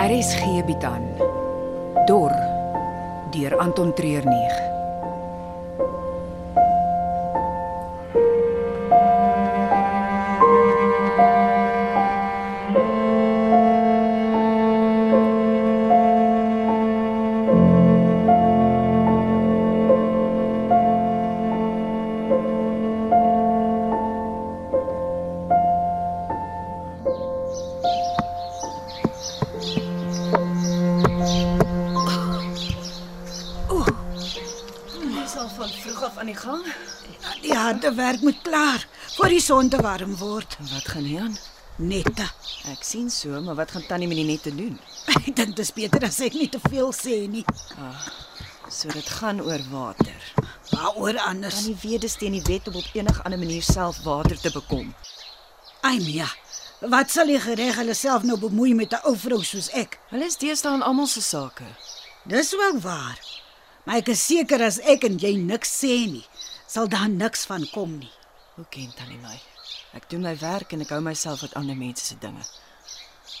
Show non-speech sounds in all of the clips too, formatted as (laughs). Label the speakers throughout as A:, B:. A: RSG bied aan Dor deur Anton Treurnig.
B: Dis al van vroeg af aan die gang.
C: Die harde werk moet klaar voor die son te warm word.
B: Wat gaan hier aan?
C: Nette.
B: Ek sien so, maar wat gaan tannie met die nette doen?
C: (laughs) Ek dink dis beter as ek nie te veel sê nie.
B: So dit gaan oor water.
C: Waaroor anders?
B: Tannie weet dis teen die wet om op enige ander manier self water te bekom.
C: Ai Mia, wat sal jy gereg hulle self nou bemoei met 'n ou vrou soos ek?
B: Hulle is deesdae aan almal se sake.
C: Dis wel waar. Maar ek is seker as ek en jy niks sê nie, sal daar niks van kom nie.
B: Hoe ken tannie my? Ek doen my werk en ek hou myself uit ander mense se dinge.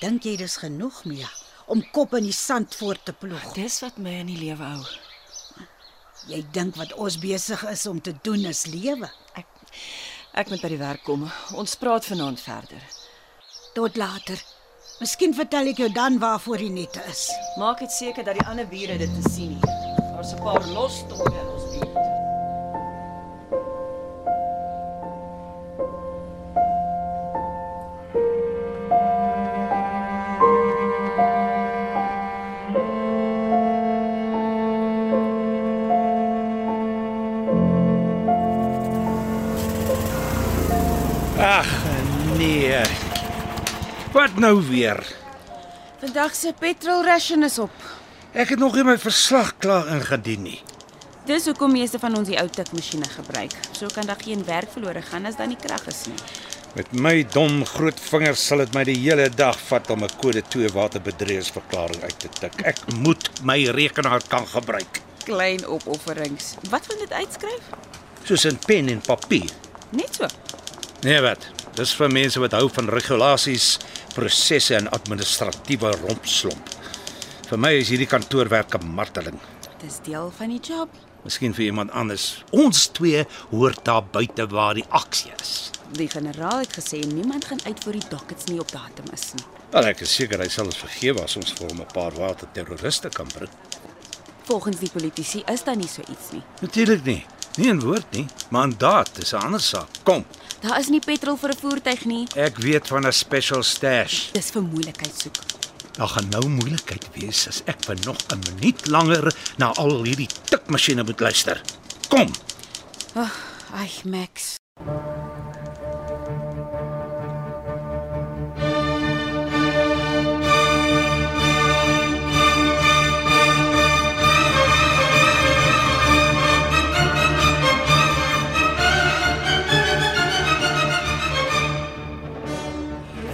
C: Dink jy dis genoeg, Mia, om kop in die sand voort te ploeg?
B: Dis wat my in die lewe hou.
C: Jy dink wat ons besig is om te doen is lewe.
B: Ek ek moet by die werk kom. Ons praat vanaand verder.
C: Tot later. Miskien vertel ek jou dan waarvoor die nette is.
B: Maak dit seker dat die ander bure dit te sien nie. Daar's 'n paar los tonge in ons buurt.
D: Ag nee. Wat nou weer?
E: Vandag se petrolration is op.
D: Ek het nog nie my verslag klaar ingedien nie.
E: Dis hoekom meeste van ons die ou tikmasjiene gebruik. So kan daar geen werk verlore gaan as daar nie krag is nie.
D: Met my dom groot vingers sal dit my die hele dag vat om 'n kode 2 waterbedreërsverklaring uit te tik. Ek moet my rekenaar kan gebruik,
E: Klein opofferings. Wat wil dit uitskryf?
D: soos 'n pen en papier.
E: Net so.
D: Nee wat? Dis vir mense wat hou van regulasies, prosesse en administratiewe rompslomp. Vir my is hierdie kantoorwerk 'n marteling.
E: Dis deel van die job.
D: Miskien vir iemand anders. Ons twee hoort daar buite waar die aksie is.
E: Die generaal het gesê niemand gaan uit voor die dockets nie op datum is nie.
D: Wel ek is seker hy sal ons vergewe as ons vir hom 'n paar waterterroriste kan bring.
E: Volgens die politici is daar nie so iets nie.
D: Natuurlik nie. Nie 'n woord nie. Mandaat is 'n ander saak. Kom,
E: Daar is nie petrol vir 'n voertuig nie.
D: ek weet van 'n special stash.
E: Dis vir moeilikheid soek.
D: Daar gaan nou moeilikheid wees as ek vir nog 'n minuut langer na al hierdie tikmasjiene moet luister. Kom.
E: Ai, Max.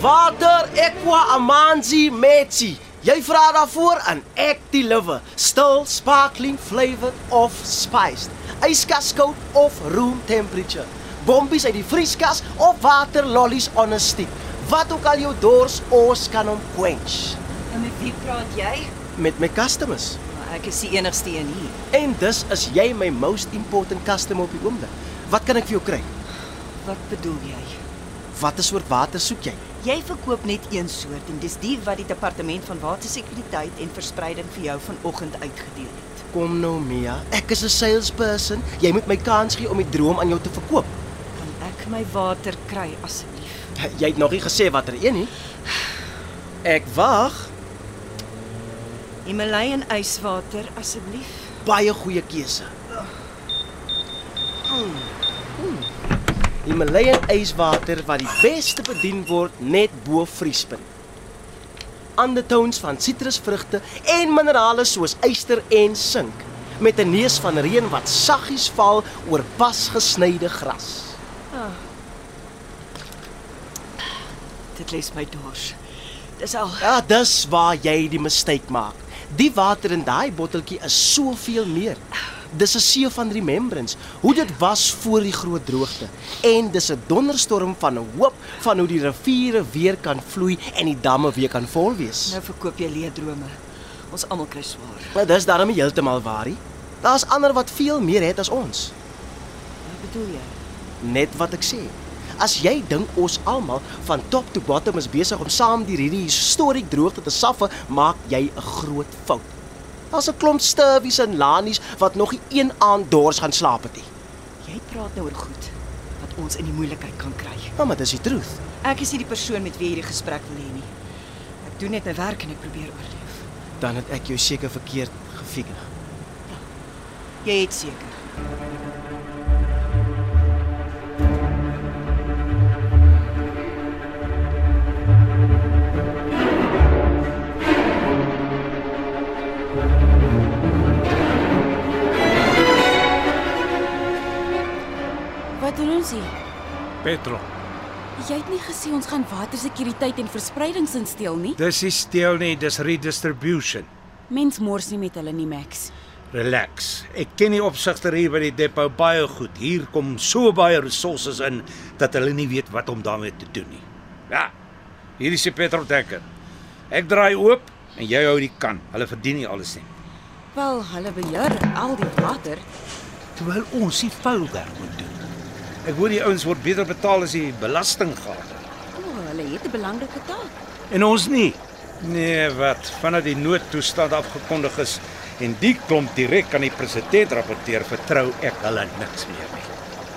F: Water Equa Amanzi Metsi. Jy vra daarvoor en ek deliver. Still sparkling flavored of spiced. Yskas koud of room temperature. Bombies uit die vrieskas of water lollies on 'n stick. Wat ook al jou dors ons kan hom quench
B: En met wie praat jy?
F: met my customers.
B: Maar ek is die enigste een hier.
F: En dus is jy my most important customer op die oomblik. Wat kan ek vir jou kry?
B: Wat bedoel jy?
F: Watter soort water soek jy?
B: Jy verkoop net een soort en dis die wat die departement van watersekuriteit en verspreiding vir jou vanoggend uitgedeel het.
F: Kom nou Mia, ek is 'n salesperson. Jy moet my kans gee om die droom aan jou te verkoop.
B: Kan ek my water kry asseblief?
F: Jy het nog nie gesê watter een nie. Ek wag.
B: Himalayan yswater asseblief.
F: Baie goeie keuse. Mm. Mm. Himalayan yswater wat die beste bedien word net bo vriespunt. Undertones van sitrusvrugte en minerale soos yster en sink met 'n neus van reën wat saggies val oor pas gesnyde gras.
B: Dit lees my dors. Dis al.
F: Ja, dis waar jy die mistake maak. Die water in daai botteltjie is soveel meer. Dis 'n see van remembrance. Hoe dit was voor die groot droogte. En dis 'n donderstorm van 'n hoop van hoe die riviere weer kan vloei en die damme weer kan vol wees.
B: Nou verkoop jy leë drome. Ons almal kry swaar.
F: Maar dis daarom nie heeltemal waar nie. Daar's ander wat veel meer het as ons.
B: Wat bedoel jy?
F: Net wat ek sê. As jy dink ons almal van top tot bottom is besig om saam deur hierdie historiek droogte te saffe, maak jy 'n groot fout. Daar's 'n klomp sturwies en lanies wat nog nie een aand dors gaan slaap het nie.
B: Jy praat nou oor goed wat ons in die moeilikheid kan kry.
F: Nou, maar dis die truth.
B: Ek is nie die persoon met wie hierdie gesprek wil hê nie. Ek doen net my werk en ek probeer oorleef.
F: Dan het ek jou seker verkeerd gefigure.
B: Jy het seker.
E: Wat doen ons hier?
D: Petrol.
E: Jy het nie gesê ons gaan watersekuriteit en verspreidings insteel nie.
D: Dis nie steel nie, dis redistribution.
E: Mens mors nie met hulle nie, Max.
D: Relax. Ek ken die opsigter hier by die depo baie goed. Hier kom so baie hulpbronne in dat hulle nie weet wat om daarmee te doen nie. Ja. Hier is die petroltanker. Ek draai oop en jy hou die kan. Hulle verdien nie alles nie.
E: Wel, hulle beheer al die water.
D: Terwyl ons die vuil werk moet doen. Ek hoor die ouens word beter betaal as die belastinggade.
E: O, oh, hulle het 'n belangrike taak.
D: En ons nie. Nee, wat? Vanaf die noodtoestand afgekondig is en die klomp direk aan die president rapporteer, vertrou ek hulle niks meer nie.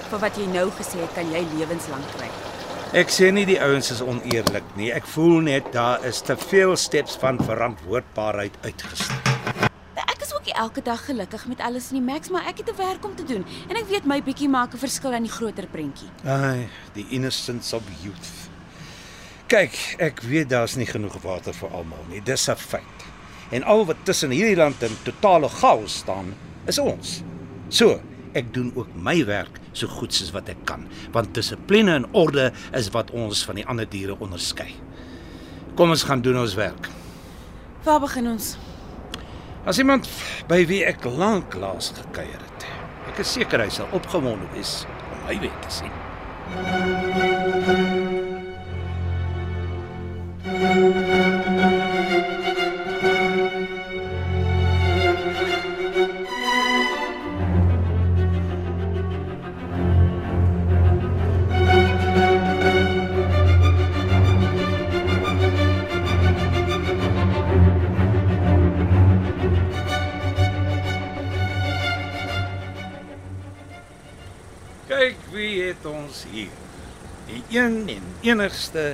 E: Vir wat jy nou gesê het, kan jy lewenslank kry.
D: Ek sê nie die ouens is oneerlik nie. Ek voel net daar is te veel steps van verantwoordbaarheid uitgesteek.
E: Ek is ook nie elke dag gelukkig met alles nie, Max, maar ek het 'n werk om te doen en ek weet my bietjie maak 'n verskil aan die groter prentjie.
D: Ai, die innocence of youth. Kyk, ek weet daar's nie genoeg water vir almal nie. Dis 'n feit. En al wat tussen hierdie land in totale chaos staan, is ons. So, ek doen ook my werk so goed soos wat ek kan, want dissipline en orde is wat ons van die ander diere onderskei. Kom ons gaan doen ons werk.
E: Waar begin ons?
D: As iemand by wie ek lank laas gekuier het. Ek is seker hy sal opgewonde wees om my weer te sien. Kyk wie het ons hier. Die een en enigste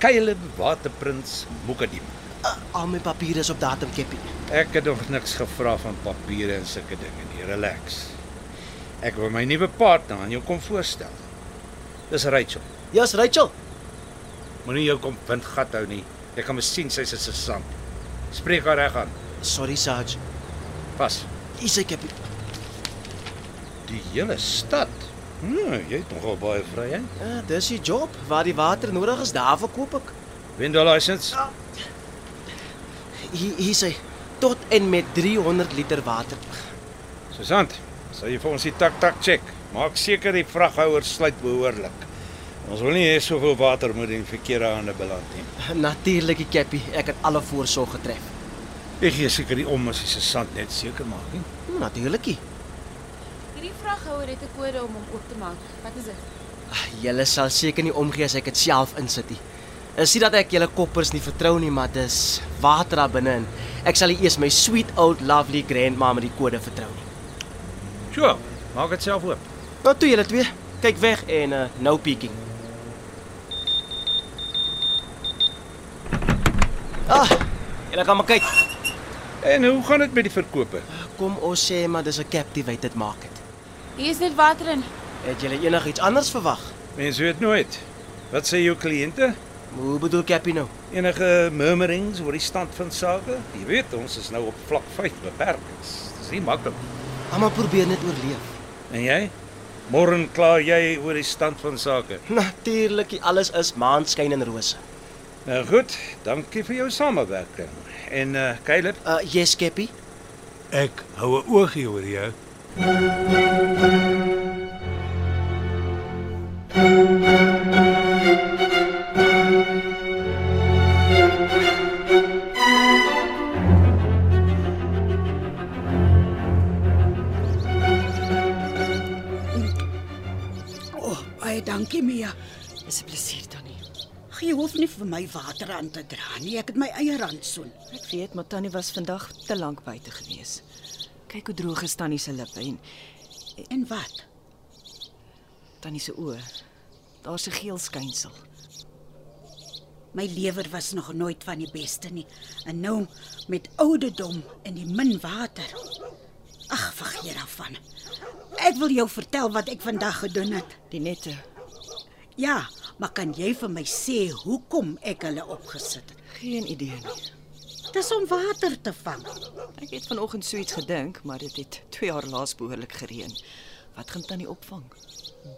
D: Caleb Waterprins Mokadim.
F: Uh, al my papiere is op datum keppie.
D: Ek het nog niks gevra van papiere en sulke dinge nie. Relax. Ek wil my nuwe partner aan jou kom voorstel. Dis Rachel.
F: Ja's Rachel.
D: Moenie jou kom windgat hou nie. Jy kan miskien sy's 'n sesant. Spreek haar reg aan.
F: Sorry Sarge.
D: Pas.
F: Hier is hy keppie.
D: Die hele stad. Hm, jy het nogal baie vryheid.
F: Uh, dis die job waar die water nodig is, daarvoor koop ek.
D: Window license.
F: Hier hier is hy tot en met 300 liter water.
D: Susan, sal jy vir ons die tak tak check? Maak seker die vraghouer sluit behoorlik. Ons wil nie hê soveel water moet in die verkeerde hande beland nie.
F: Natuurlik die keppie. Ek het alle voorsorg getref.
D: Ek gee seker die om as jy se sand net seker maak nie.
F: Hm, Natuurlikie.
E: Hierdie vraghouer het 'n kode om hom oop te maak. Wat is dit?
F: Julle sal seker nie omgee as ek dit self insit nie. Is nie dat ek julle koppers nie vertrou nie, maar dis water daar binne in. Ek sal nie eers my sweet old lovely grandma met die kode vertrou nie.
D: Sjoe, maak dit self oop.
F: Nou toe julle twee, kyk weg en uh, nou peeking. Ah, julle kan maar kyk.
D: En hoe gaan dit met die verkope?
F: Kom ons sê maar dis 'n captivated market.
E: Hier is net water in.
F: Het julle enigiets anders verwag?
D: Mense weet nooit. Wat sê jou kliënte?
F: Hoe bedoel Cappy nou?
D: Enige murmurings oor die stand van sake? Jy weet, ons is nou op vlak 5 beperkings. Dis nie maklik. nie.
F: Almal probeer net oorleef.
D: En jy? Môre kla jy oor die stand van sake.
F: Natuurlik, alles is maanskyn en rose.
D: Nou goed, dankie vir jou samewerking. En eh uh, Caleb,
F: Uh yes, Cappy.
G: Ek hou 'n oogie oor jou.
C: O, oh, baie dankie Mia.
B: Dis 'n plesier tannie.
C: Jy hoef nie vir my water aan te dra nie. Ek het my eie rantsoen.
B: Ek weet, maar tannie was vandag te lank buite gewees. Kyk hoe droog is tannie se lippe en
C: En wat?
B: tannie se oë. Daar's 'n geel skynsel.
C: My lewer was nog nooit van die beste nie. En nou met ouderdom en die min water. Ag, vergeet daarvan. Ek wil jou vertel wat ek vandag gedoen het.
B: Die nette
C: Ja, maar kan jy vir my sê hoekom ek hulle opgesit het?
B: geen idee nie.
C: Dis om water te vang.
B: Ek het vanoggend so iets gedink, maar dit het 2 jaar laas behoorlik gereën. Wat gaan tannie opvang?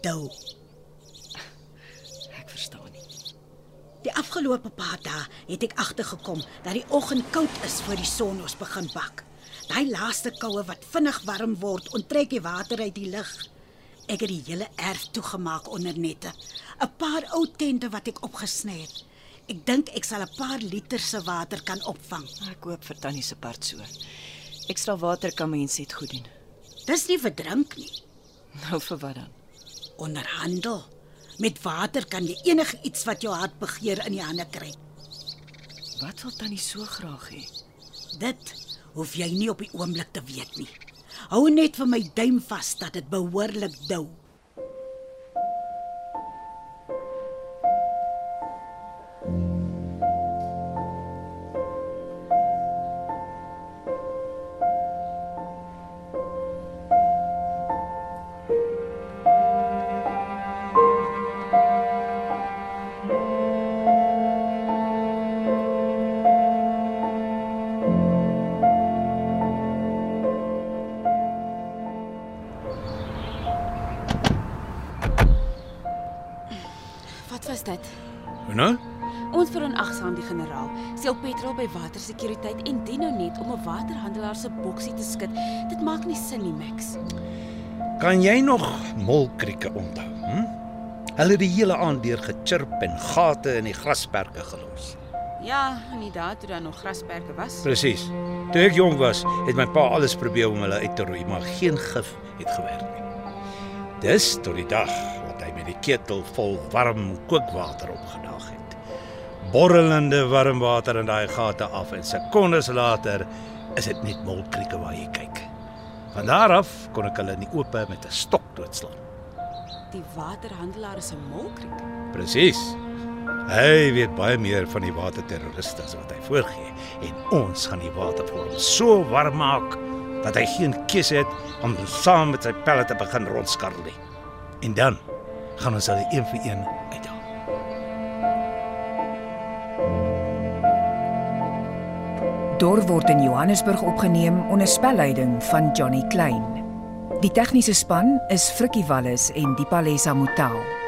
C: Dou.
B: Ek verstaan nie.
C: Die afgelope paar dae het ek agtergekom dat die oggend koud is voor die son ons begin bak. Daai laaste koue wat vinnig warm word, onttrek die water uit die lug. Ek het die hele erf toegemaak onder nette, 'n paar ou tente wat ek opgesny het. Ek dink ek sal 'n paar liter se water kan opvang.
B: Ek koop vir tannie se part so. Ekstra water kan mense net goed doen.
C: Dis nie vir drink nie,
B: Nou vir wat dan?
C: onderhandel. Met water kan jy enige iets wat jou hart begeer in die hande kry.
B: Wat wil tannie so graag hê?
C: Dit hoef jy nie op die oomblik te weet nie. Hou net vir my duim vas dat dit behoorlik dou.
E: Wat was dit?
D: Nou?
E: Ons veronagsaam die generaal, steel petrol by watersekuriteit en dit nou net om 'n waterhandelaar se boksie te skit. Dit maak nie sin nie, Max.
D: Kan jy nog molkrieke onthou? Hm? Hulle het die hele aand deur gechirp en gate in die grasperke gelos.
E: Ja, inderdaad, toe daar nog grasperke was.
D: Presies. Toe ek jonk was, het my pa alles probeer om hulle uit te roei, maar geen gif het gewerk nie. Dis tot die dag wat hy met die ketel vol warm kookwater opgedaag het. Borrelende warm water in daai gate af en sekondes later is dit net molkrieke waar jy kyk. Van daar af kon ek hulle in die oop met 'n stok doodslaan.
E: Die waterhandelaar is 'n molkriek.
D: Presies. Hy weet baie meer van die waterterroriste as wat hy voorgee en ons gaan die water vir hom so warm maak dat hy geen keuse het om saam met sy pelle te begin rondskarrel nie. En dan gaan ons hulle een vir een uithaal.
A: Dor word in Johannesburg opgeneem onder spelleiding van Johnny Klein. Die tegniese span is Frikkie Wallis en Dipalesa Motelo.